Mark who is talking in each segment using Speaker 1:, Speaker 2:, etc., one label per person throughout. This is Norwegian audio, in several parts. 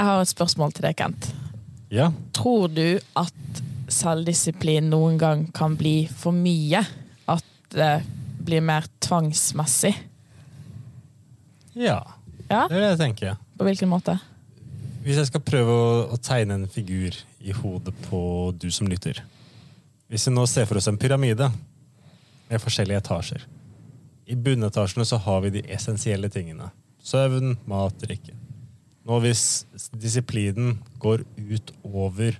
Speaker 1: Jeg har et spørsmål til deg, Kent.
Speaker 2: Ja.
Speaker 1: Tror du at selvdisiplin noen gang kan bli for mye? At det blir mer tvangsmessig?
Speaker 2: ja.
Speaker 1: Ja,
Speaker 2: Det er det jeg tenker.
Speaker 1: På hvilken måte?
Speaker 2: Hvis jeg skal prøve å, å tegne en figur i hodet på du som lytter Hvis vi nå ser for oss en pyramide med forskjellige etasjer. I bunnetasjene så har vi de essensielle tingene. Søvn, mat, drikke. Nå hvis disiplinen går ut over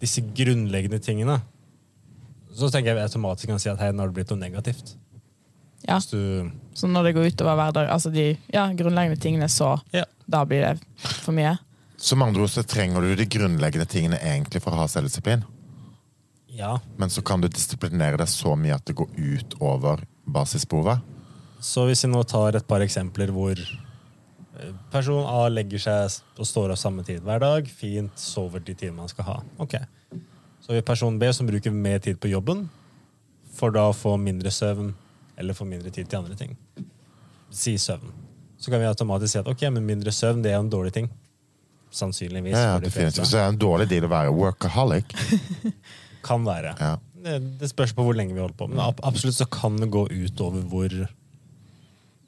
Speaker 2: disse grunnleggende tingene, så tenker jeg vi automatisk kan si at hei, nå har det blitt noe negativt.
Speaker 1: Ja.
Speaker 2: Hvis du
Speaker 1: Så når det går utover hverdag, altså de ja, grunnleggende tingene, så
Speaker 2: Ja.
Speaker 1: da blir det for mye?
Speaker 3: Som andre ord så trenger du de grunnleggende tingene egentlig for å ha selvdisiplin.
Speaker 2: Ja.
Speaker 3: Men så kan du disiplinere deg så mye at det går ut over basisbehovet.
Speaker 2: Så hvis vi nå tar et par eksempler hvor eh, person A legger seg s- og står opp samme tid hver dag, fint, sover de timene han skal ha. Ok. Så har vi person B som bruker mer tid på jobben, for da å få mindre søvn, eller få mindre tid til andre ting. Si søvn. Så kan vi automatisk si at ok, men mindre søvn det er en dårlig ting. Sannsynligvis.
Speaker 3: Ja, ja,
Speaker 2: for de fleste.
Speaker 3: definitivt. Så det er en dårlig deal å være workaholic.
Speaker 2: Kan være.
Speaker 3: Ja.
Speaker 2: Det, det spørs på hvor lenge vi holder på. Men ab absolutt så kan det gå ut over hvor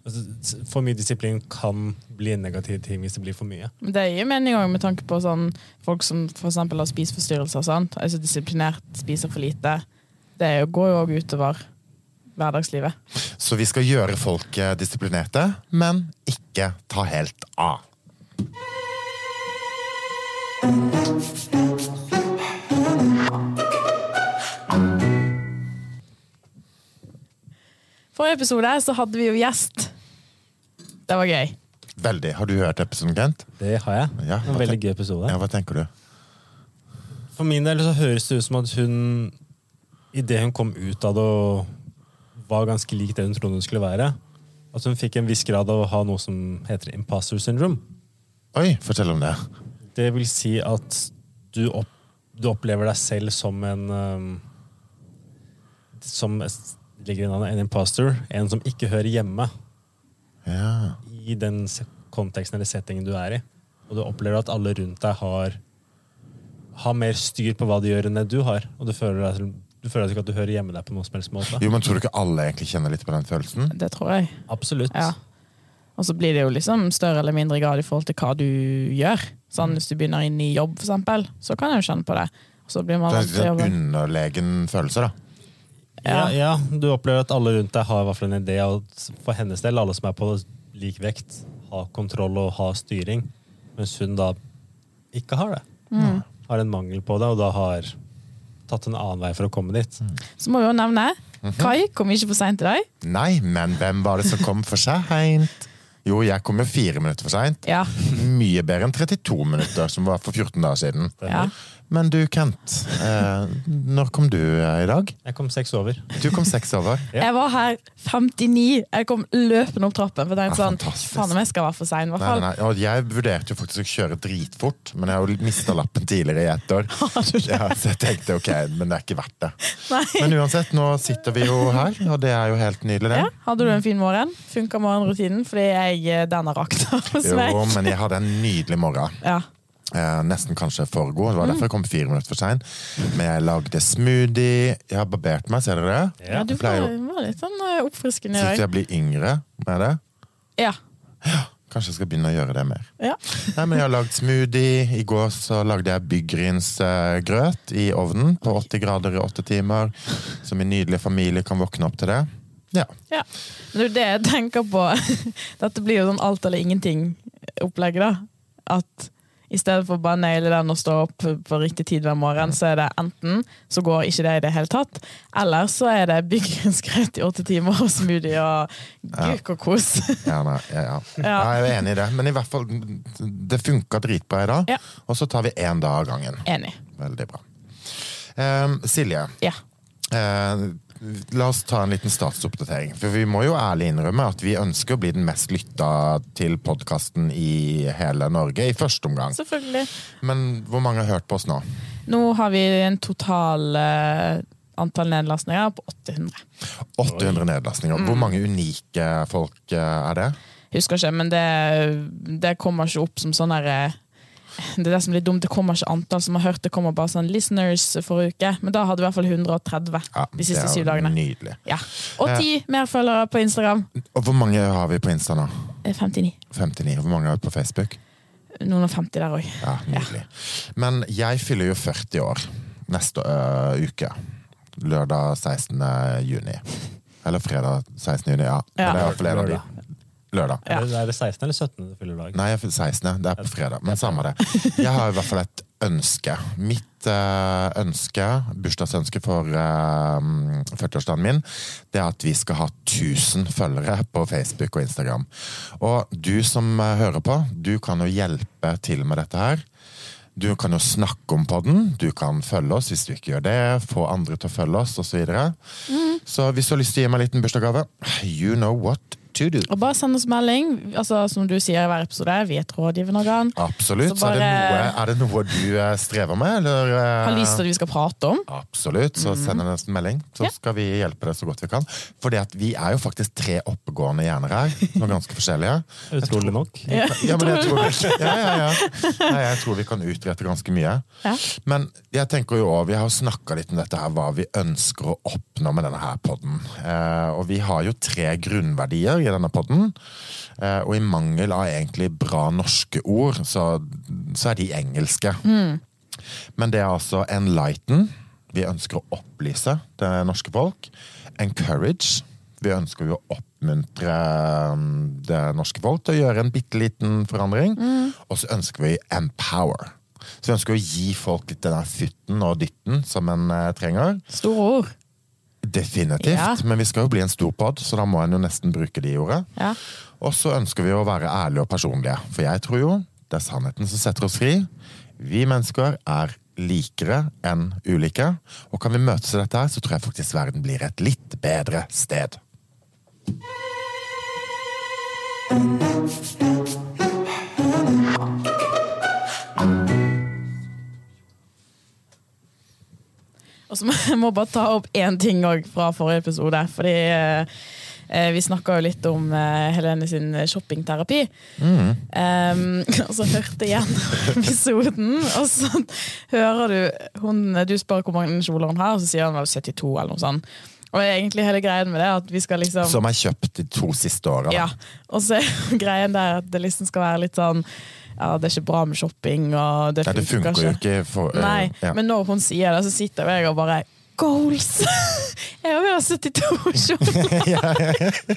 Speaker 2: altså, s- For mye disiplin kan bli en negativ ting hvis det blir for mye.
Speaker 1: Men Det gir mening også med tanke på sånn, folk som for eksempel har spiseforstyrrelser. Sant? Er så disiplinert, spiser for lite. Det er jo- går jo òg utover hverdagslivet.
Speaker 3: Så vi skal gjøre folk eh, disiplinerte, men ikke ta helt av.
Speaker 1: Forrige episode så hadde vi jo gjest. Det var gøy.
Speaker 3: Veldig. Har du hørt episoden, Kent?
Speaker 2: Det har jeg.
Speaker 3: Ja,
Speaker 2: en
Speaker 3: hva
Speaker 2: veldig
Speaker 3: tenk-
Speaker 2: gøy episode.
Speaker 3: Ja, hva tenker du?
Speaker 2: For min del så høres det ut som at hun idet hun kom ut av det og var ganske lik det hun trodde hun skulle være, at hun fikk en viss grad av å ha noe som heter imposter syndrome.
Speaker 3: Oi, fortell om det.
Speaker 2: Det vil si at du, opp, du opplever deg selv som en ehm, Som s- ligger i navnet, en imposter. En som ikke hører hjemme
Speaker 3: Ja.
Speaker 2: i den se- konteksten eller settingen du er i. Og du opplever at alle rundt deg har Har mer styr på hva de gjør, enn det du har. Og du føler, deg, som- du føler ikke at du hører hjemme der på noen som helst måte.
Speaker 3: Jo, men tror du ikke alle egentlig kjenner litt på den følelsen?
Speaker 1: Det tror jeg.
Speaker 2: Absolutt.
Speaker 1: Ja. Og så blir det jo liksom større eller mindre grad i forhold til hva du gjør.
Speaker 3: Mm.
Speaker 1: Sånn, hvis du begynner i ny jobb, for eksempel, så kan jeg jo kjenne på det. Og så blir man
Speaker 3: Det
Speaker 1: vant til
Speaker 3: er
Speaker 1: å
Speaker 3: en
Speaker 1: jobbe.
Speaker 3: underlegen følelse, da.
Speaker 2: Ja. ja, Du opplever at alle rundt deg har i hvert fall en idé, og at for hennes del, alle som er på lik vekt, har kontroll og har styring, mens hun da ikke har det. Har en mangel på det, og da har tatt en annen vei for å komme dit.
Speaker 1: Så må vi jo nevne
Speaker 3: Mhm.
Speaker 1: Kai kom ikke for seint i dag.
Speaker 3: Nei, men hvem var det som kom for seint? Jo, jeg kom jo fire minutter for seint.
Speaker 1: Ja.
Speaker 3: Mye bedre enn 32 minutter, som var for 14 dager siden.
Speaker 1: ja.
Speaker 3: Men du, Kent. Eh, når kom du eh, i dag?
Speaker 2: Jeg kom seks over.
Speaker 3: Du kom seks over.
Speaker 2: Ja.
Speaker 1: Jeg var her 59. Jeg kom løpende opp trappen. For jeg tenkte
Speaker 3: Ja,
Speaker 1: sånn,
Speaker 3: fantastisk.
Speaker 1: faen om jeg skal være for sein, i hvert
Speaker 3: Nei,
Speaker 1: fall.
Speaker 3: nei, nei. Og jeg vurderte jo faktisk å kjøre dritfort, men jeg har jo mista lappen tidligere i ett år. Ja, så jeg tenkte ok, men det er ikke verdt det. Men uansett, nå sitter vi jo her, og det er jo helt nydelig, det.
Speaker 1: Ja, hadde du en fin morgen? Funka morgenrutinen? Fordi jeg, eh, den har rakna hos meg.
Speaker 3: Jo, men jeg hadde en nydelig morgen.
Speaker 1: Ja.
Speaker 3: Eh, nesten kanskje for god. Det var derfor jeg kom fire minutter for sein. Men jeg lagde smoothie. Jeg har barbert meg, ser dere det?
Speaker 1: ja, du
Speaker 3: Jeg pleier
Speaker 1: var,
Speaker 3: jo-
Speaker 1: var litt sånn eh, oppfriskende i
Speaker 3: Syns du
Speaker 1: dag.
Speaker 3: jeg blir yngre med det?
Speaker 1: Ja.
Speaker 3: Kanskje jeg skal begynne å gjøre det mer.
Speaker 1: ja.
Speaker 3: Nei, men Jeg har lagd smoothie. I går så lagde jeg byggrynsgrøt i ovnen på 80 grader i åtte timer. Så min nydelige familie kan våkne opp til det. Ja.
Speaker 1: Ja. Men det er det jeg tenker på. Dette blir jo sånn alt eller ingenting-opplegget, da. At i stedet for bare å naile den og stå opp på riktig tid hver morgen, så er det enten så går ikke det i det hele tatt, eller så er det bygggrøt i åtte timer og smoothie og guk og kos.
Speaker 3: Ja, nei, ja, ja. ja, jeg er enig i det. Men i hvert fall, det funka dritbra i dag.
Speaker 1: Ja.
Speaker 3: Og så tar vi én dag av gangen.
Speaker 1: Enig.
Speaker 3: Veldig bra. Ehm, Silje,
Speaker 1: Ja.
Speaker 3: eh, la oss ta en liten statsoppdatering. For vi må jo ærlig innrømme at vi ønsker å bli den mest lytta til podkasten i hele Norge i første omgang.
Speaker 1: Selvfølgelig.
Speaker 3: Men hvor mange har hørt på oss nå?
Speaker 1: Nå har vi en total eh, antall nedlastninger på 800.
Speaker 3: 800 nedlastninger.
Speaker 1: Mm.
Speaker 3: Hvor mange unike folk eh, er det?
Speaker 1: Husker ikke, men det, det kommer ikke opp som sånn her eh, det er det som blir dumt, det kommer ikke antall som har hørt. Det kommer bare sånn listeners forrige uke, men da hadde vi i hvert fall 130
Speaker 3: Ja,
Speaker 1: de
Speaker 3: det
Speaker 1: siste
Speaker 3: er
Speaker 1: syv
Speaker 3: jo
Speaker 1: dagene.
Speaker 3: Nydelig.
Speaker 1: Ja. Og ti mer følgere på Instagram.
Speaker 3: Og hvor mange har vi på Insta nå?
Speaker 1: Eh, 59.
Speaker 3: 59. Hvor mange har vi på Facebook?
Speaker 1: Noen og 50 der òg.
Speaker 3: Ja, nydelig. Men jeg fyller jo 40 år neste ø, uke. Lørdag 16. juni. Eller fredag 16. juni, ja.
Speaker 1: Ja.
Speaker 3: Men det er i hvert fall en av de. Lørdag.
Speaker 1: Ja.
Speaker 2: Er, det, er det 16 eller 17 du fyller dag?
Speaker 3: Nei, jeg fyller 16. Det er på fredag. Men samme det. Jeg har i hvert fall et ønske. Mitt ø, ønske, bursdagsønske for ø, 40-årsdagen min, det er at vi skal ha 1000 følgere på Facebook og Instagram. Og du som ø, hører på, du kan jo hjelpe til med dette her. Du kan jo snakke om podden, du kan følge oss hvis du ikke gjør det, få andre til å følge oss osv. Så, videre. så hvis du har lyst til å gi meg en liten bursdagsgave, you know what to do.
Speaker 1: Og bare send oss melding. Altså, som du sier i hver episode, vi er et rådgivende organ.
Speaker 3: Absolutt.
Speaker 1: Så
Speaker 3: Så er, det noe,
Speaker 1: bare-
Speaker 3: er det noe du eh, strever med, eller eh,
Speaker 1: Har lyst til at vi skal prate om.
Speaker 3: Absolutt, så send en melding, så
Speaker 1: Ja.
Speaker 3: skal vi hjelpe deg så godt vi kan. Fordi at vi er jo faktisk tre oppegående hjerner her, som er ganske forskjellige.
Speaker 2: Utrolig nok.
Speaker 1: Ja,
Speaker 3: Ja, men jeg tror, ja, ja, ja. Nei, jeg tror vi kan utrette ganske mye.
Speaker 1: Ja.
Speaker 3: Men jeg tenker jo også, vi har jo snakka litt om dette her, hva vi ønsker å oppnå med denne her podden. Eh, og vi har jo tre grunnverdier i denne podden. Eh, og i mangel av egentlig bra norske ord, så, så er de engelske. Men det er altså enlighten. Vi ønsker å opplyse det norske folk. Encourage. Vi ønsker jo å oppmuntre mm, det norske folk til å gjøre en bitte liten forandring. Og så ønsker vi empower. Så vi ønsker å gi folk litt den der futten og dytten som en eh, trenger.
Speaker 1: Store ord.
Speaker 3: Definitivt.
Speaker 1: Ja.
Speaker 3: Men vi skal jo bli en stor pod, så da må en jo nesten bruke de ordene.
Speaker 1: Ja.
Speaker 3: Og så ønsker vi å være ærlige og personlige. For jeg tror jo det er sannheten som setter oss fri. Vi mennesker er likere enn ulike. Og kan vi møtes i dette her, så tror jeg faktisk verden blir et litt bedre sted.
Speaker 1: Og så må jeg må bare ta opp én ting også fra forrige episode. Fordi eh, vi snakka jo litt om eh, Helene sin shoppingterapi.
Speaker 3: Mm.
Speaker 1: Em, og så hørte jeg gjennom episoden, og så hører du hun, Du spør hvor mange kjoler hun har, og så sier hun vel 72 eller noe sånt. Og egentlig hele greien med det er at vi skal liksom
Speaker 3: Som er kjøpt de to siste åra.
Speaker 1: ja. Og så er jo greien der at det liksom skal være litt sånn Ja, det er ikke bra med shopping, og det
Speaker 3: Nei,
Speaker 1: funker,
Speaker 3: det funker jo ikke. For, øh,
Speaker 1: Nei,
Speaker 3: ja.
Speaker 1: men når hun sier det, så sitter jeg og bare Goals! Jeg har jo 72 kjoler!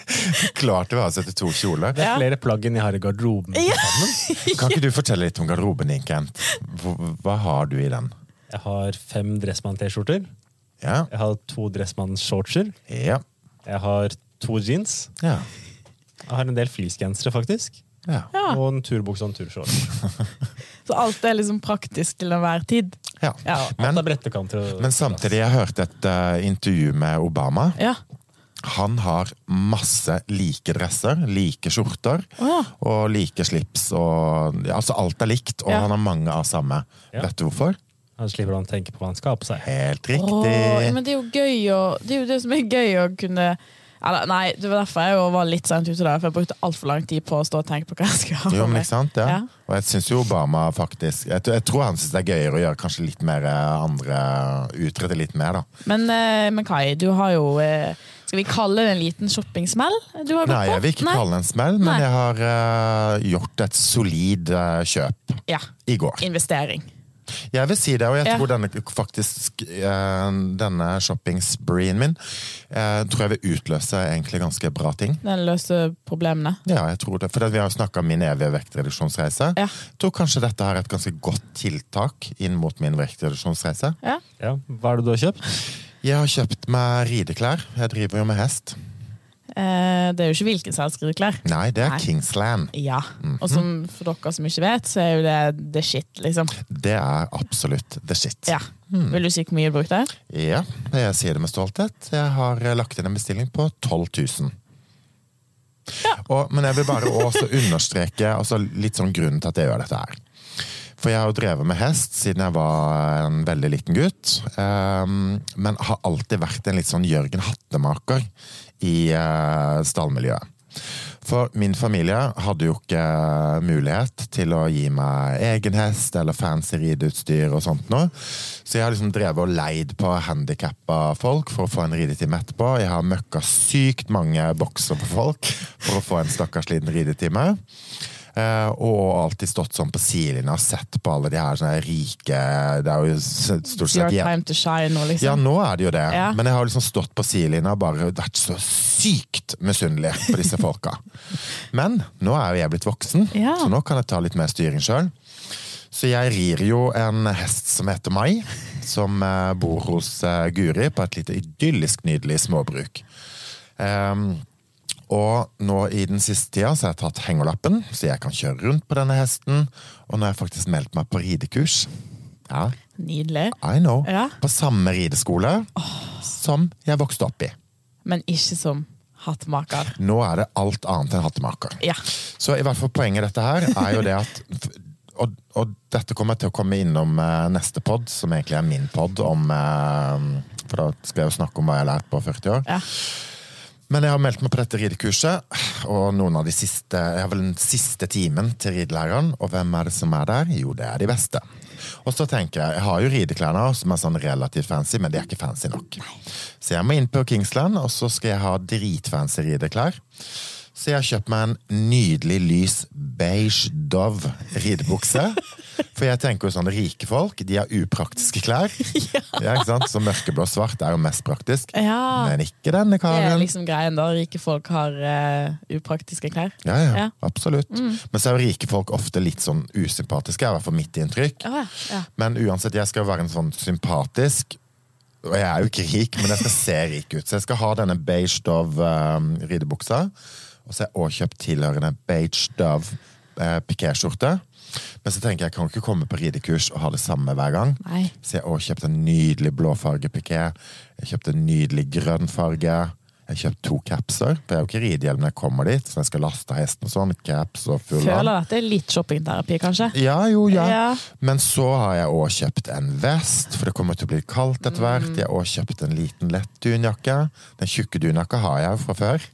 Speaker 3: Klart du har 72 kjoler.
Speaker 2: Det
Speaker 1: Ja.
Speaker 2: er flere plagg enn jeg har i garderoben.
Speaker 1: Ja.
Speaker 3: Kan ikke du fortelle litt om garderoben din, Kent? Hva, hva har du i den?
Speaker 2: Jeg har fem Dressmann-T-skjorter.
Speaker 3: Ja.
Speaker 2: Jeg har to Dressmann-shortser.
Speaker 3: Ja.
Speaker 2: Jeg har to jeans.
Speaker 3: Ja.
Speaker 2: Jeg har en del fleecegensere, faktisk.
Speaker 3: ja.
Speaker 1: Ja.
Speaker 2: Og en turbukse og en turshorts.
Speaker 1: Så alt er liksom praktisk til enhver tid.
Speaker 3: ja.
Speaker 1: Ja. altså,
Speaker 2: Alt
Speaker 3: Men,
Speaker 2: er brettekanter. og-
Speaker 3: men samtidig, jeg hørte et øh, intervju med Obama.
Speaker 1: Ja.
Speaker 3: Han har masse like dresser, like skjorter
Speaker 1: Å ja.
Speaker 3: og like slips. Og, ja, altså alt er likt, og
Speaker 1: Ja.
Speaker 3: han har mange av samme.
Speaker 2: Ja.
Speaker 3: Vet du hvorfor?
Speaker 2: Han slipper han å tenke på hva han skal ha på seg.
Speaker 3: Helt
Speaker 1: Åh,
Speaker 3: riktig.
Speaker 1: men det er jo gøy å Det er jo det som er gøy å kunne eller, Nei, det var derfor jeg jo var litt sent ute der, for jeg brukte altfor lang tid på å stå og tenke på hva jeg skal ha.
Speaker 3: Jo, men
Speaker 1: med.
Speaker 3: ikke sant? Ja.
Speaker 1: sånn, Ja.
Speaker 3: Og jeg syns jo Obama faktisk jeg, jeg tror han syns det er gøyere å gjøre kanskje litt mer eh, andre Utrede litt mer, da.
Speaker 1: Men, eh, men Kai, du har jo eh, Skal vi kalle det en liten shoppingsmell? Du har gått
Speaker 3: Nei,
Speaker 1: på?
Speaker 3: jeg vil ikke
Speaker 1: Nei?
Speaker 3: kalle det en smell, men
Speaker 1: Nei.
Speaker 3: jeg har eh, gjort et solid eh, kjøp
Speaker 1: Ja.
Speaker 3: i går.
Speaker 1: Investering.
Speaker 3: Jeg vil si det, og jeg
Speaker 1: Ja.
Speaker 3: tror denne, faktisk, eh, denne shopping-spreen min eh, tror jeg vil utløse egentlig ganske bra ting.
Speaker 1: Den løser problemene.
Speaker 3: Ja, jeg tror det. For vi har jo snakka om min evige vektreduksjonsreise.
Speaker 1: Ja.
Speaker 3: Jeg tror kanskje dette er et ganske godt tiltak inn mot min vektreduksjonsreise.
Speaker 1: Ja.
Speaker 2: Ja. Hva er det du har kjøpt?
Speaker 3: Jeg har kjøpt meg rideklær. Jeg driver jo med hest.
Speaker 1: Eh, det er jo ikke hvilken som helst skruklær.
Speaker 3: Nei, det er
Speaker 1: Nei.
Speaker 3: Kingsland.
Speaker 1: Ja. Og som for dere som ikke vet, så er jo det the shit, liksom.
Speaker 3: Det er absolutt the shit.
Speaker 1: Ja.
Speaker 3: Hmm.
Speaker 1: Vil du si hvor mye du brukte?
Speaker 3: Ja, jeg sier det med stolthet. Jeg har eh, lagt inn en bestilling på 12 000. Og, men jeg vil bare også understreke altså litt sånn grunnen til at jeg gjør dette her. For jeg har jo drevet med hest siden jeg var en veldig liten gutt. ehm, men har alltid vært en litt sånn Jørgen Hattemaker i eh, stallmiljøet. For min familie hadde jo ikke eh, mulighet til å gi meg egen hest eller fancy rideutstyr og sånt noe. Så jeg har liksom drevet og leid på handikappa folk for å få en ridetime etterpå. Jeg har møkka sykt mange bokser på folk for å få en stakkars liten ridetime. Eh, og alltid stått sånn på sidelinja og sett på alle de her sånne rike Det er jo stort
Speaker 1: It's your
Speaker 3: sett jenter
Speaker 1: time to shine nå, liksom.
Speaker 3: ja, nå er det jo det.
Speaker 1: Ja.
Speaker 3: Men jeg har liksom stått på sidelinja og bare vært så sykt misunnelig på disse folka. Men nå er jo jeg blitt voksen,
Speaker 1: Ja.
Speaker 3: så nå kan jeg ta litt mer styring sjøl. Så jeg rir jo en hest som heter Mai, som eh, bor hos eh, Guri på et lite idyllisk nydelig småbruk. Ehm, og nå i den siste tida så har jeg tatt hengerlappen, så jeg kan kjøre rundt på denne hesten. Og nå har jeg faktisk meldt meg på ridekurs. Ja,
Speaker 1: Nydelig.
Speaker 3: i know.
Speaker 1: Ja.
Speaker 3: På samme rideskole som jeg vokste opp i.
Speaker 1: Men ikke som hattmaker.
Speaker 3: Nå er det alt annet enn hattemaker.
Speaker 1: Ja.
Speaker 3: Så i hvert fall poenget i dette her er jo det at og, og dette kommer jeg til å komme innom eh, neste pod, som egentlig er min pod, om eh, For da skal jeg jo snakke om hva jeg har lært på 40 år.
Speaker 1: Ja.
Speaker 3: Men jeg har meldt meg på dette ridekurset, og noen av de siste Jeg har vel den siste timen til ridelæreren, og hvem er det som er der? Jo, det er de beste. Og så tenker jeg, jeg har jo rideklær nå som er sånn relativt fancy, men de er ikke fancy nok. Så jeg må inn på Kingsland, og så skal jeg ha dritfancy rideklær. Så jeg har kjøpt meg en nydelig lys beige dove ridebukse. For jeg tenker jo sånn, rike folk, de har upraktiske klær. Ja. ikke sant? Så mørkeblå og svart er jo mest praktisk.
Speaker 1: Ja.
Speaker 3: Men ikke denne
Speaker 1: Det er
Speaker 3: karen.
Speaker 1: liksom greien, da. Rike folk har eh, upraktiske klær.
Speaker 3: Ja, ja,
Speaker 1: Ja. Mm.
Speaker 3: absolutt. Men så er jo rike folk ofte litt sånn usympatiske, er i hvert fall mitt inntrykk.
Speaker 1: Ja, ja.
Speaker 3: Men uansett, jeg skal jo være en sånn sympatisk Og jeg er jo ikke rik, men jeg skal se rik ut. Så jeg skal ha denne beige dove eh, ridebuksa. Og så har jeg også kjøpt tilhørende beige dove eh, pikéskjorte. Men så tenker jeg, jeg kan jo ikke komme på ridekurs og ha det samme hver gang.
Speaker 1: Nei.
Speaker 3: Så jeg har også kjøpt en nydelig blåfarge piké. Jeg kjøpte en nydelig grønn farge. Jeg har kjøpt to capser, for jeg har jo ikke ridehjelm når jeg kommer dit. Så jeg skal laste hesten og sånn. Caps og full on.
Speaker 1: Føler dette er litt shoppingterapi, kanskje.
Speaker 3: Ja, jo, ja.
Speaker 1: Ja.
Speaker 3: Men så har jeg òg kjøpt en vest, for det kommer til å bli kaldt etter
Speaker 1: Mm.
Speaker 3: hvert. Jeg har òg kjøpt en liten lett dunjakke. Den tjukke dunjakka har jeg jo fra før.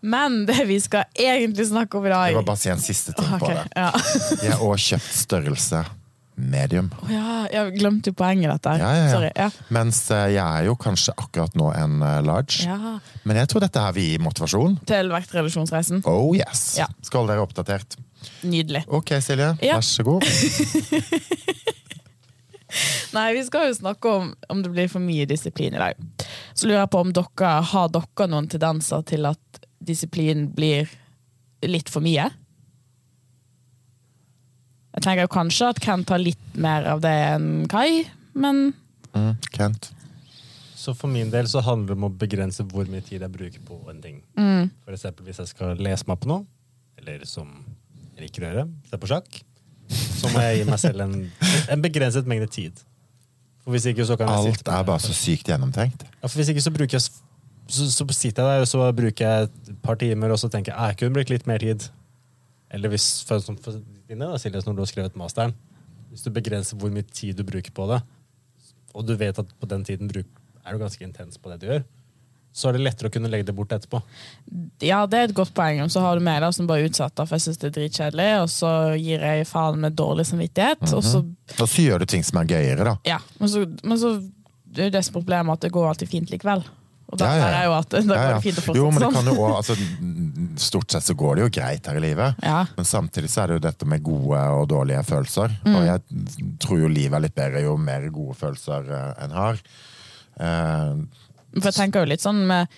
Speaker 1: Men det vi skal egentlig snakke om i dag
Speaker 3: Jeg må bare si en siste ting
Speaker 1: Ok,
Speaker 3: på det.
Speaker 1: ja.
Speaker 3: Jeg har òg kjøpt størrelse medium.
Speaker 1: Å ja, jeg glemte jo poenget i dette. her.
Speaker 3: Ja, ja, ja.
Speaker 1: Sorry. Ja.
Speaker 3: Mens eh, jeg er jo kanskje akkurat nå en eh, large.
Speaker 1: Ja.
Speaker 3: Men jeg tror dette her vil gi motivasjon.
Speaker 1: Til vektreduksjonsreisen.
Speaker 3: Oh yes!
Speaker 1: Ja.
Speaker 3: Skal holde dere oppdatert.
Speaker 1: Nydelig.
Speaker 3: Ok, Silje.
Speaker 1: Ja.
Speaker 3: Vær så god.
Speaker 1: Nei, vi skal jo snakke om om det blir for mye disiplin i dag. Så lurer jeg på om dere har dere noen tendenser til at disiplin blir litt for mye? Jeg tenker jo kanskje at Ken tar litt mer av det enn Kai, men
Speaker 3: Mm, Kent.
Speaker 2: Så for min del så handler det om å begrense hvor mye tid jeg bruker på en ting. For eksempel hvis jeg skal lese meg på noe, eller som jeg liker å gjøre, se på sjakk, så må jeg gi meg selv en, en begrenset mengde tid. For hvis ikke så kan jeg
Speaker 3: Alt
Speaker 2: sitte
Speaker 3: er bare så sykt gjennomtenkt.
Speaker 2: ja, for hvis ikke så bruker jeg s- så, så sitter jeg der, og så bruker jeg et par timer, og så tenker jeg "Ah, jeg kunne brukt litt mer tid. Eller hvis, for, som for dine da, Silje, når du har skrevet masteren, hvis du begrenser hvor mye tid du bruker på det, og du vet at på den tiden bruk, er du ganske intens på det du gjør, så er det lettere å kunne legge det bort etterpå.
Speaker 1: ja, det er et godt poeng. Og så har du meg da som bare utsetter, for jeg syns det er dritkjedelig, og så gir jeg faen med dårlig samvittighet, og så
Speaker 3: Og så gjør du ting som er gøyere, da.
Speaker 1: Ja, men så, men så det er jo det som er problemet at det går alltid fint likevel. Og da
Speaker 3: Ja, ja, ja.
Speaker 1: er jo at da går
Speaker 3: Ja, ja.
Speaker 1: det fint å fortsette
Speaker 3: Jo, men det
Speaker 1: sånn.
Speaker 3: kan jo også, altså, n- Stort sett så går det jo greit her i livet.
Speaker 1: Ja.
Speaker 3: Men samtidig så er det jo dette med gode og dårlige følelser.
Speaker 1: Mm.
Speaker 3: Og jeg tror jo livet er litt bedre jo mer gode følelser eh, en har. Eh,
Speaker 1: For jeg tenker jo litt sånn med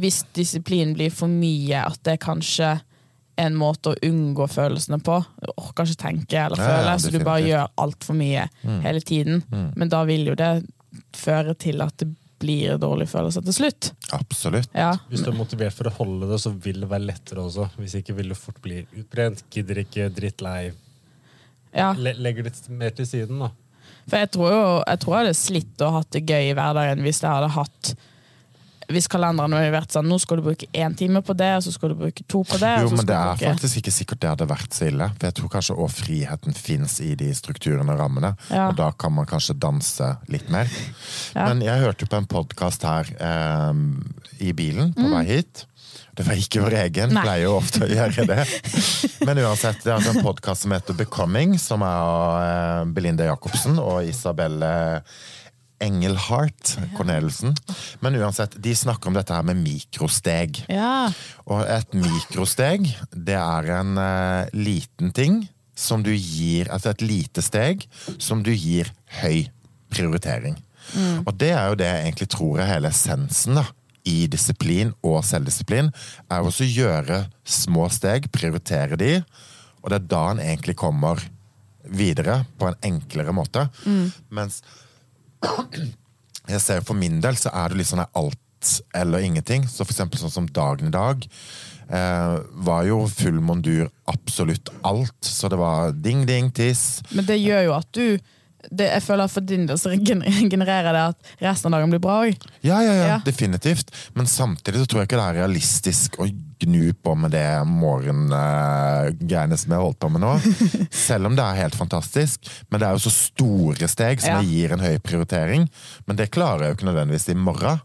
Speaker 1: Hvis disiplin blir for mye, at det er kanskje en måte å unngå følelsene på. Du orker ikke tenke eller
Speaker 3: Ja,
Speaker 1: føle,
Speaker 3: ja,
Speaker 1: så du bare
Speaker 3: definitivt. Mm.
Speaker 1: gjør altfor mye hele tiden. Men da vil jo det føre til at det blir dårlige følelser til slutt.
Speaker 3: absolutt.
Speaker 1: Ja.
Speaker 2: Hvis du er motivert for å holde det, så vil det være lettere også. Hvis ikke vil du fort bli utbrent, gidder ikke, drittlei.
Speaker 1: ja.
Speaker 2: Le legger det mer til siden, da.
Speaker 1: For jeg tror jo jeg tror jeg hadde slitt og hatt det gøy i hverdagen hvis jeg hadde hatt hvis kalenderen hadde vært sånn, nå skal du bruke én time på det, og så skal du bruke to på det og
Speaker 3: Jo,
Speaker 1: så
Speaker 3: men
Speaker 1: skal du
Speaker 3: det er
Speaker 1: bruke...
Speaker 3: faktisk ikke sikkert det hadde vært så ille. For jeg tror kanskje òg friheten fins i de strukturene og rammene.
Speaker 1: Ja.
Speaker 3: Og da kan man kanskje danse litt mer.
Speaker 1: Ja.
Speaker 3: Men jeg hørte jo på en podkast her eh, i bilen på vei hit. Det var ikke vår egen,
Speaker 1: Mm. Nei.
Speaker 3: pleier jo ofte å gjøre det. Men uansett, det er altså en podkast som heter Becoming, som er av eh, Belinda Jacobsen og Isabelle Engelhardt Corneliussen. Men uansett, de snakker om dette her med mikrosteg.
Speaker 1: Ja.
Speaker 3: Og et mikrosteg, det er en eh, liten ting som du gir Altså et lite steg som du gir høy prioritering. Og det er jo det jeg egentlig tror er hele essensen da, i disiplin og selvdisiplin. Er også å gjøre små steg, prioritere de, og det er da en egentlig kommer videre på en enklere måte. Mens jeg ser for min del så er det litt sånn her alt eller ingenting. Så for eksempel sånn som dagen i dag eh, var jo full mondur absolutt alt. Så det var ding, ding, tiss.
Speaker 1: Men det gjør jo at du det, Jeg føler at for din del så gener- genererer det at resten av dagen blir bra òg.
Speaker 3: Ja, ja, ja,
Speaker 1: Ja.
Speaker 3: definitivt. Men samtidig så tror jeg ikke det er realistisk å gnu på med det morgengreiene som jeg holdt på med nå. Selv om det er helt fantastisk. Men det er jo så store steg som
Speaker 1: Ja.
Speaker 3: jeg gir en høy prioritering. Men det klarer jeg jo ikke nødvendigvis i morgen.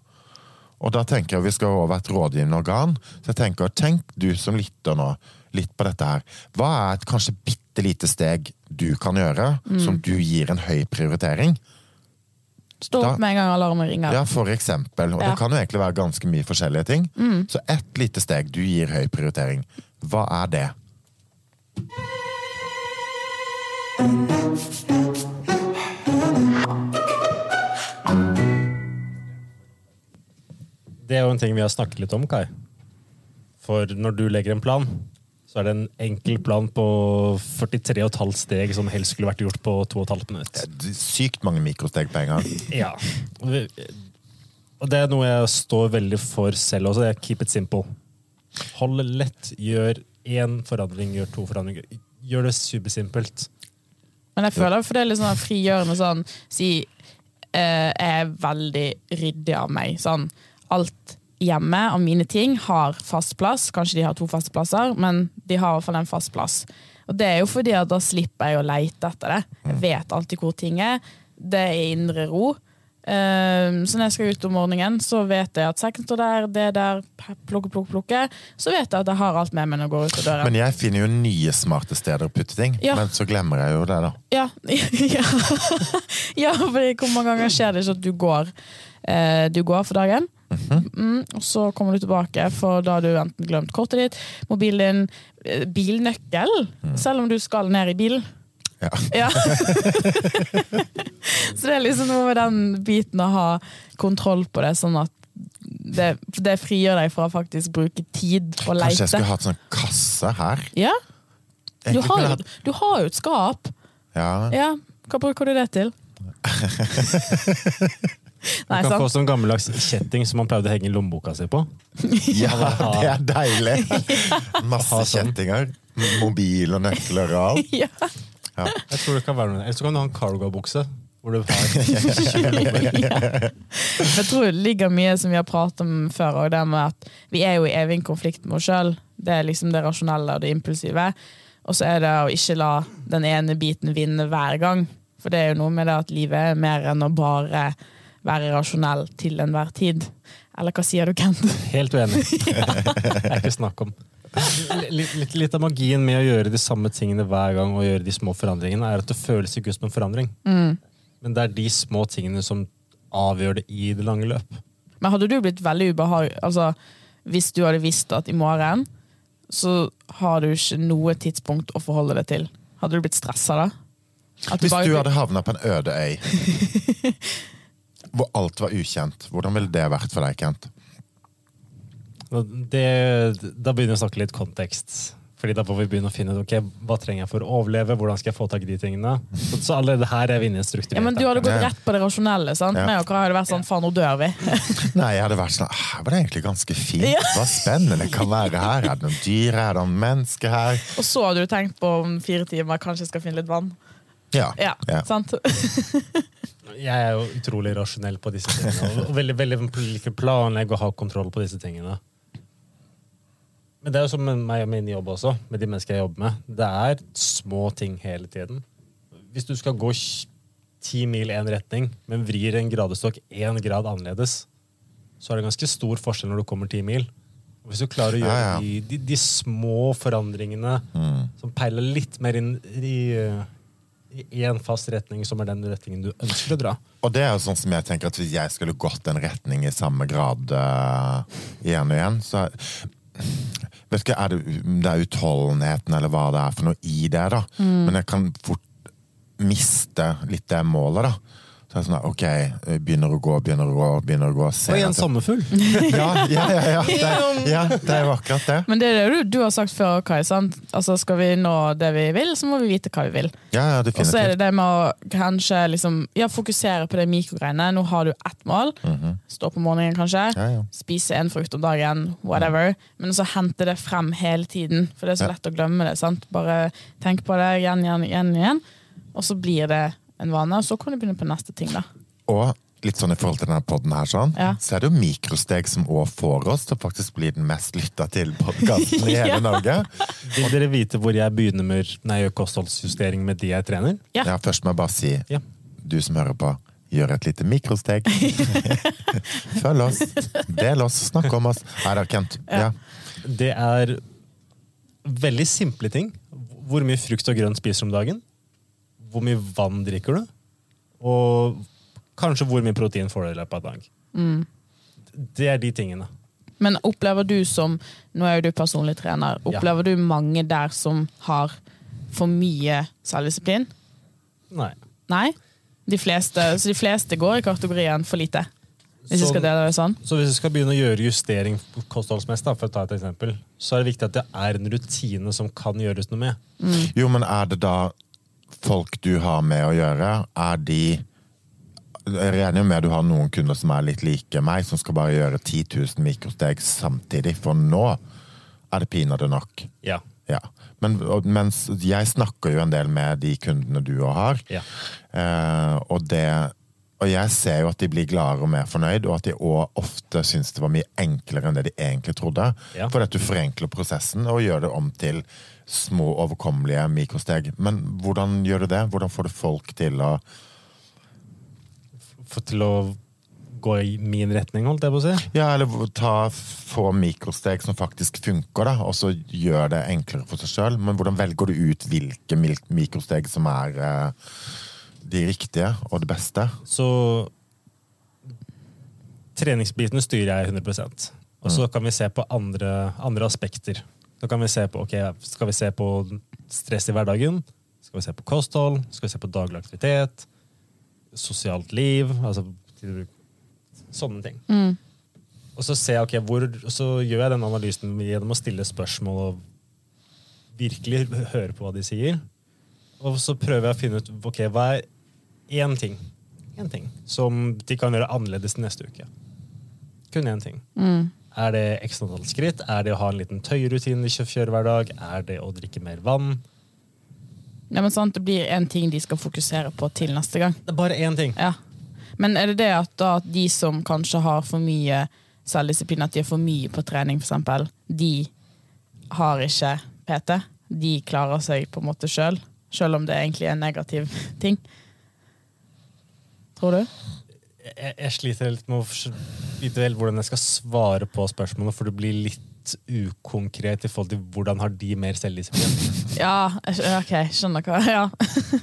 Speaker 3: Og da tenker jeg vi skal over et rådgivende organ. Så jeg tenker, tenk du som lytter nå, litt på dette her. Hva er et kanskje bitte lite steg du kan gjøre,
Speaker 1: Mm.
Speaker 3: som du gir en høy prioritering?
Speaker 1: Stå
Speaker 3: Da-
Speaker 1: opp med en gang alarmen ringer.
Speaker 3: Ja, for eksempel. Og
Speaker 1: Ja. Mm.
Speaker 3: det kan jo egentlig være ganske mye forskjellige ting. Så ett lite steg du gir høy prioritering. Hva er det?
Speaker 2: Det er jo en ting vi har snakket litt om, Kai. For når du legger en plan, så er det en enkel plan på 43,5 steg som helst skulle vært gjort på 2,5 minutter.
Speaker 3: Sykt mange mikrosteg på en gang.
Speaker 2: Ja. Og det er noe jeg står veldig for selv også. Jeg keep it simple. Hold det lett. Gjør én forandring, gjør to forandringer. Gjør det supersimpelt.
Speaker 1: Men jeg føler for det er litt sånn frigjørende sånn Si eh, jeg er veldig ryddig av meg. Sånn alt hjemme av mine ting har fast plass. Kanskje de har to faste plasser, men de har i hvert fall en fast plass. Og det er jo fordi at da slipper jeg å leite etter det. Jeg vet alltid hvor ting er. Det er indre ro. Ehm, så når jeg skal ut om morgenen, så vet jeg at sekken står der, det er der, p- plukke, plukke, plukke. Så vet jeg at jeg har alt med meg når jeg går ut av døren.
Speaker 3: Men jeg finner jo nye smarte steder å putte ting.
Speaker 1: Ja.
Speaker 3: Men så glemmer jeg jo det, da.
Speaker 1: Ja, ja. ja for hvor mange ganger skjer det ikke at du går eh, Du går for dagen,
Speaker 3: Mhm.
Speaker 1: mm, og så kommer du tilbake, for da har du enten glemt kortet ditt, mobilen din, eh, bilnøkkel,
Speaker 3: Mm.
Speaker 1: selv om du skal ned i bilen.
Speaker 3: Ja.
Speaker 1: Ja. så det er liksom noe med den biten å ha kontroll på det, sånn at det, det frigjør deg fra å faktisk bruke tid og leite.
Speaker 3: Kanskje jeg skulle hatt sånn kasse her?
Speaker 1: Ja, du
Speaker 3: Egentlig
Speaker 1: har,
Speaker 3: kunne
Speaker 1: jo,
Speaker 3: jeg hatt-
Speaker 1: du har jo et skap.
Speaker 3: Ja.
Speaker 1: Ja, hva bruker du det til? Nei,
Speaker 2: Man kan få
Speaker 1: sant?
Speaker 2: sånn gammeldags kjetting som man pleide å henge lommeboka si på.
Speaker 3: ja,
Speaker 2: ha-
Speaker 3: det er deilig! Masse
Speaker 2: Ha sånn.
Speaker 3: kjettinger. Mobil og nøkler og alt.
Speaker 1: Ja.
Speaker 2: Jeg tror det kan være noe. Eller så kan du ha en cargo-bukse. Hvor du har
Speaker 1: Jeg tror det ligger mye som vi har pratet om før, og det med at vi er jo i evig konflikt med oss sjøl. Det er liksom det rasjonelle og det impulsive. Og så er det å ikke la den ene biten vinne hver gang. For det er jo noe med det at livet er mer enn å bare være rasjonell til enhver tid. Eller hva sier du, Kent?
Speaker 2: Helt uenig. Det er ikke snakk om. Litt, litt, litt av magien med å gjøre de samme tingene hver gang og gjøre de små forandringene, er at det føles ikke ut som en forandring.
Speaker 1: Mm.
Speaker 2: Men det er de små tingene som avgjør det i det lange løp.
Speaker 1: Men hadde du blitt veldig ubehagelig altså, Hvis du hadde visst at i morgen Så har du ikke noe tidspunkt å forholde deg til Hadde du blitt stresset da? At
Speaker 3: Hvis
Speaker 1: bare-
Speaker 3: du hadde havna på en øde øy hvor alt var ukjent, hvordan ville det vært for deg, Kent?
Speaker 2: Og Det, da begynner vi å snakke litt kontekst. Fordi da får vi begynne å finne ut ok, hva trenger jeg for å overleve. hvordan skal jeg få tak i de tingene. Så, så allerede her er vi inne i en strukturert
Speaker 1: ja, men du hadde gått
Speaker 3: Ja.
Speaker 1: rett på det rasjonelle, sant?
Speaker 3: Ja.
Speaker 1: Meg og Kara hadde vært sånn, faen, nå dør vi.
Speaker 3: Nei, jeg hadde vært sånn Her var det egentlig ganske fint.
Speaker 1: Ja.
Speaker 3: Hva spennende det kan være her. Er det noen dyr? Er det noen mennesker her?
Speaker 1: Og så hadde du tenkt på om fire timer, kanskje jeg skal finne litt vann.
Speaker 3: Ja.
Speaker 1: Ja,
Speaker 3: Ja.
Speaker 1: sant?
Speaker 2: Jeg er jo utrolig rasjonell på disse tingene. Og veldig, veldig flink til å planlegge og ha kontroll på disse tingene. Men det er jo som med meg og min jobb også, med de menneskene jeg jobber med. Det er små ting hele tiden. Hvis du skal gå tj- ti mil i én retning, men vrir en gradestokk én grad annerledes, så er det ganske stor forskjell når du kommer ti mil. Og Hvis du klarer å gjøre
Speaker 3: Ja, Mm. ja.
Speaker 2: De, de, de små forandringene som peiler litt mer inn i eh, i én fast retning, som er den retningen du ønsker å dra.
Speaker 3: Og det er jo sånn som jeg tenker at hvis jeg skulle gått en retning i samme grad eh, igjen og igjen, så Vet ikke, er det, det er utholdenheten eller hva det er for noe i det, da.
Speaker 1: Mm.
Speaker 3: Men jeg kan fort miste litt det målet, da. Så jeg er sånn, der, ok, begynner å gå, begynner å gå, begynner å gå.
Speaker 2: Og
Speaker 3: ser at
Speaker 2: igjen
Speaker 3: jeg-
Speaker 2: sommerfugl.
Speaker 3: Ja, ja, ja, ja, det, ja, det er jo akkurat det.
Speaker 1: Men det er det du, du har sagt før, Kai. sant? Altså, skal vi nå det vi vil, så må vi vite hva vi vil.
Speaker 3: Ja, ja,
Speaker 1: Og så er
Speaker 3: definitivt.
Speaker 1: det det med å kanskje liksom, ja, fokusere på det mikrogreiene. Nå har du ett mål. Stå på morgenen, kanskje.
Speaker 3: Mhm. Ja, ja.
Speaker 1: Spise en frukt om dagen. Whatever. Men så hente det frem hele tiden. For det er så
Speaker 3: Ja.
Speaker 1: lett å glemme det. sant? Bare tenk på det igjen, igjen, igjen. igjen. Og så blir det en vane. Og så kan du begynne på neste ting, da.
Speaker 3: Og litt sånn i forhold til denne podden her, sånn,
Speaker 1: Ja.
Speaker 3: så er det jo mikrosteg som også får oss til å faktisk bli den mest lytta til podkasten i hele
Speaker 1: Ja.
Speaker 3: Norge.
Speaker 2: Vil dere vite hvor jeg begynner med nei, gjør kostholdsjustering med de jeg trener?
Speaker 1: Ja.
Speaker 3: Ja, først må jeg bare si,
Speaker 2: Ja.
Speaker 3: du som hører på, gjør et lite mikrosteg. Følg oss, del oss, snakk om oss. Nei da, Kent. Ja.
Speaker 2: Det er veldig simple ting. Hvor mye frukt og grønt spiser du om dagen? Hvor mye vann drikker du? Og kanskje hvor mye protein får du i løpet av en dag? Det er de tingene.
Speaker 1: Men opplever du som Nå er jo du personlig trener.
Speaker 2: Ja.
Speaker 1: Opplever du mange der som har for mye selvdisiplin?
Speaker 2: Nei.
Speaker 1: Nei. De fleste, så de fleste går i kategorien for lite. Hvis vi
Speaker 2: Som-
Speaker 1: skal dele det sånn.
Speaker 2: Så hvis du skal begynne å gjøre justering kostholdsmessig, da, for å ta et eksempel, så er det viktig at det er en rutine som kan gjøres noe med.
Speaker 1: Mm.
Speaker 3: Jo, men er det da folk du har med å gjøre, er de jeg regner jo med du har noen kunder som er litt like meg, som skal bare gjøre 10 000 mikrosteg samtidig, for nå er det pinadø nok.
Speaker 2: Ja.
Speaker 3: Ja. Men og- mens jeg snakker jo en del med de kundene du òg har,
Speaker 2: Ja.
Speaker 3: eh, og det og jeg ser jo at de blir gladere og mer fornøyd, og at de òg ofte syns det var mye enklere enn det de egentlig trodde.
Speaker 2: Ja.
Speaker 3: Fordi at du forenkler prosessen og gjør det om til små, overkommelige mikrosteg. Men hvordan gjør du det? Hvordan får du folk til å
Speaker 2: for, til å gå i min retning, holdt jeg på å si.
Speaker 3: Ja, eller hvor- ta få mikrosteg som faktisk funker, da, og så gjør det enklere for seg sjøl. Men hvordan velger du ut hvilke mil- mikrosteg som er eh, de riktige og det beste?
Speaker 2: Så treningsbiten styrer jeg 100 Og så kan vi se på andre, andre aspekter. Da kan vi se på, ok, Skal vi se på stress i hverdagen? Skal vi se på kosthold? Skal vi se på daglig aktivitet? Sosialt liv? Altså sånne ting. Og så ser jeg, ok, hvor, og så gjør jeg den analysen gjennom å stille spørsmål og virkelig høre på hva de sier. Og så prøver jeg å finne ut ok, hva er én ting, én ting som de kan gjøre annerledes neste uke. Kun én ting. Er det x antall skritt? Er det å ha en liten tøyerutine de kjø- kjører hver dag? Er det å drikke mer vann?
Speaker 1: Ja, men sant, det blir en ting de skal fokusere på til neste gang.
Speaker 2: Det er bare én ting.
Speaker 1: Ja. Men er det det at da at de som kanskje har for mye selvdisiplin, at de er for mye på trening f.eks., de har ikke PT? De klarer seg på en måte sjøl, sjøl om det egentlig er en negativ ting? Tror du?
Speaker 2: Jeg, jeg sliter litt med å fors- vite vel hvordan jeg skal svare på spørsmålet, for det blir litt ukonkret i forhold til hvordan har de mer selvdisiplin.
Speaker 1: Ja, jeg skj- OK, skjønner hva ja.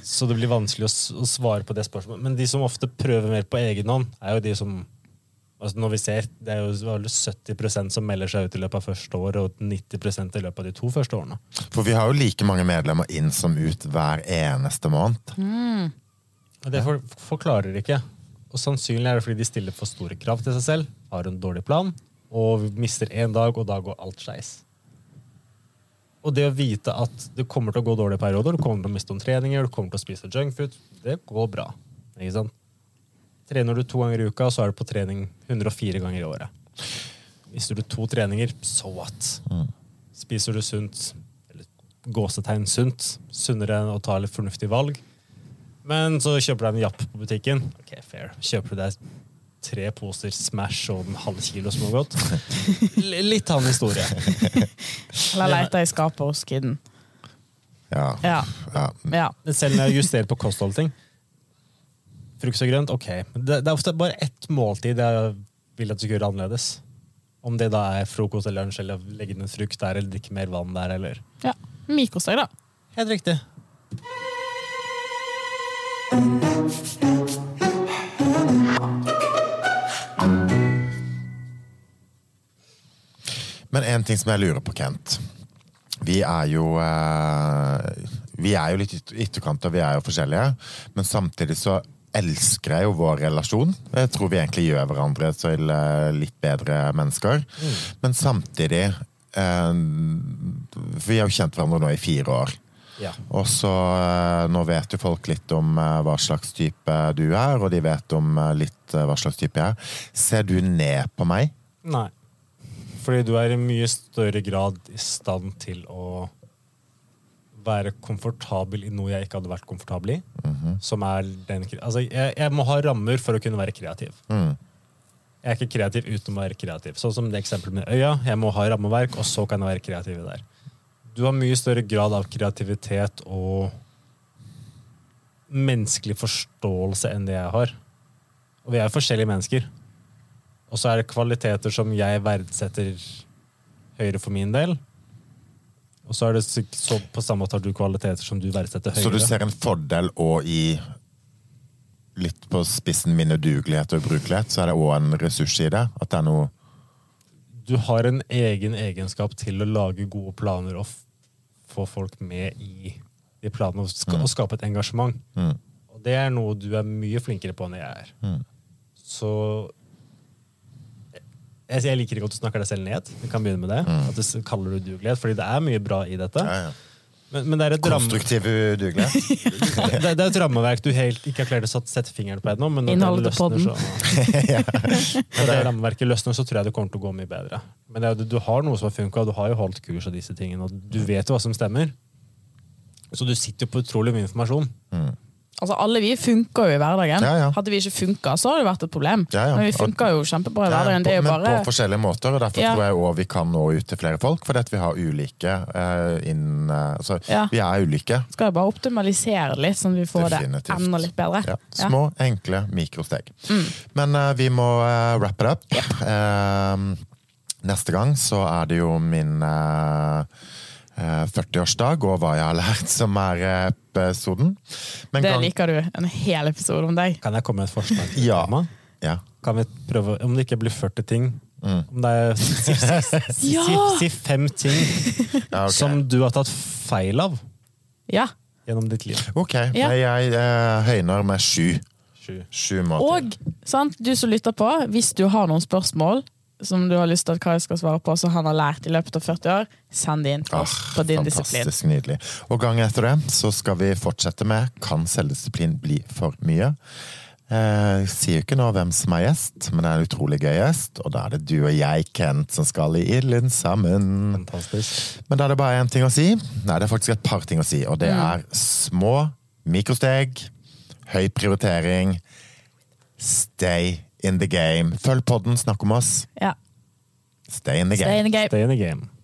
Speaker 2: Så det blir vanskelig å, s- å svare på det spørsmålet. Men de som ofte prøver mer på egen hånd, er jo de som altså Når vi ser, det er jo vel 70 som melder seg ut i løpet av første år, og 90 i løpet av de to første årene.
Speaker 3: For vi har jo like mange medlemmer inn som ut hver eneste måned.
Speaker 2: Og det for, forklarer ikke. Og sannsynlig er det fordi de stiller for store krav til seg selv, har en dårlig plan, og mister én dag, og da går alt skeis. Og det å vite at det kommer til å gå dårlige perioder, du kommer til å miste noen treninger, du kommer til å spise junkfood, det går bra. Ikke sant? Trener du to ganger i uka, så er du på trening 104 ganger i året. Mister du to treninger, so what? Spiser du sunt, eller gåsetegn sunt, sunnere enn å ta litt fornuftige valg, Men så kjøper du deg en Japp på butikken. Ok, fair. Kjøper du deg tre poser Smash og en halv kilo smågodt. L- Litt annen historie.
Speaker 1: Eller leter i skapet hos kiden.
Speaker 3: Ja.
Speaker 1: Ja.
Speaker 3: Ja.
Speaker 1: ja.
Speaker 2: Men selv når jeg justerer på kostholdting Frukt og grønt, ok. Men det, det er ofte bare ett måltid jeg vil at du skal gjøre annerledes. Om det da er frokost eller lunsj, eller legge ned frukt der, eller drikke mer vann der, eller
Speaker 1: ja. Mikrosteg, da.
Speaker 2: Helt riktig.
Speaker 3: Men en ting som jeg lurer på, Kent. Vi er jo eh, Vi er jo litt yt- ytterkant, og vi er jo forskjellige. Men samtidig så elsker jeg jo vår relasjon. Jeg tror vi egentlig gjør hverandre til eh, litt bedre mennesker.
Speaker 2: Mm.
Speaker 3: Men samtidig eh, Vi har jo kjent hverandre nå i fire år.
Speaker 2: Ja.
Speaker 3: Og så eh, Nå vet jo folk litt om eh, hva slags type du er, og de vet om eh, litt eh, hva slags type jeg er. Ser du ned på meg?
Speaker 2: Nei. Fordi du er i mye større grad i stand til å være komfortabel i noe jeg ikke hadde vært komfortabel i. Som er den kre- Altså, jeg, jeg må ha rammer for å kunne være kreativ.
Speaker 3: Mm.
Speaker 2: Jeg er ikke kreativ uten å være kreativ. Sånn som det eksempelet med øya. Jeg må ha rammeverk, og så kan jeg være kreativ der. Du har mye større grad av kreativitet og menneskelig forståelse enn det jeg har. Og vi er forskjellige mennesker. Og så er det kvaliteter som jeg verdsetter høyere for min del. Og så er det sikk- så på samme måte har du kvaliteter som du verdsetter høyere.
Speaker 3: Så du ser en fordel og i litt på spissen min udugelighet og ubrukelighet, så er det òg en ressurs i det? At det er noe
Speaker 2: du har en egen egenskap til å lage gode planer og f- få folk med i de planene og, ska og skape et engasjement. Og det er noe du er mye flinkere på enn jeg er. Så eh, jeg, jeg liker ikke at du snakker deg selv ned. Vi kan begynne med det. At du s- kaller det udugelighet, fordi det er mye bra i dette. Men, men det er et ramme-
Speaker 3: konstruktiv udugelighet?
Speaker 2: det, det er et rammeverk du helt ikke har klart å satt- sette fingeren på ennå. Men når
Speaker 1: Innholdet
Speaker 2: det
Speaker 1: til
Speaker 2: løsner, så, når det rammeverket løsner, så tror jeg det kommer til å gå mye bedre. Men det, er jo- du har noe som har funka, du har jo holdt kurs og disse tingene, og du vet jo hva som stemmer. Så du sitter jo på utrolig mye informasjon.
Speaker 1: Altså, alle vi funker jo i hverdagen.
Speaker 3: Ja, ja.
Speaker 1: Hadde vi ikke funka, så hadde det vært et problem.
Speaker 3: Ja, ja.
Speaker 1: Men vi funker jo kjempebra i
Speaker 3: Ja, ja,
Speaker 1: hverdagen. Det er
Speaker 3: på-
Speaker 1: jo
Speaker 3: men
Speaker 1: bare
Speaker 3: på forskjellige måter, og derfor
Speaker 1: Ja.
Speaker 3: tror jeg òg vi kan nå ut til flere folk. Fordi at vi har ulike eh, inn... eh, altså,
Speaker 1: Ja.
Speaker 3: vi er ulike.
Speaker 1: Skal jo bare optimalisere litt, sånn at vi får
Speaker 3: Definitivt.
Speaker 1: det enda litt bedre.
Speaker 3: Ja. Små, enkle mikrosteg.
Speaker 1: Mm.
Speaker 3: Men eh, vi må eh, wrap it up. Eh, neste gang så er det jo min eh, eh, 40-årsdag og hva jeg har lært, som er eh, episoden. Men
Speaker 1: Det
Speaker 3: gang-
Speaker 1: liker du. En hel episode om deg.
Speaker 2: Kan jeg komme med et forslag? til
Speaker 3: Ja.
Speaker 2: tema?
Speaker 3: Ja.
Speaker 2: Kan vi prøve, Om det ikke blir 40 ting
Speaker 3: Mm.
Speaker 2: Om det er si, si, si,
Speaker 1: Ja!
Speaker 2: si fem ting
Speaker 3: Ja, ok.
Speaker 2: som du har tatt feil av
Speaker 1: Ja.
Speaker 2: gjennom ditt liv.
Speaker 3: Ok,
Speaker 1: Ja.
Speaker 3: Nei, jeg eh, høyner med sju.
Speaker 2: Sju.
Speaker 3: Sju måter.
Speaker 1: Og sant, du som lytter på, hvis du har noen spørsmål som du har lyst til at Kai skal svare på, som han har lært i løpet av 40 år, send det inn til
Speaker 3: Ah,
Speaker 1: oss på din disiplin.
Speaker 3: fantastisk nydelig. Og gangen etter det så skal vi fortsette med Kan selvdisiplin bli for mye? Eh, sier jo ikke nå hvem som er gjest, men det er en utrolig gøy gjest. Og da er det du og jeg, Kent, som skal i ilden sammen.
Speaker 2: Fantastisk.
Speaker 3: Men da er det bare én ting å si. Nei, det er faktisk et par ting å si. Og det
Speaker 1: Mm.
Speaker 3: er små mikrosteg, høy prioritering, stay in the game. Følg podden, snakk om oss.
Speaker 1: Ja.
Speaker 3: Stay in the
Speaker 1: Stay
Speaker 3: game.
Speaker 1: in the game.
Speaker 2: Stay in the game.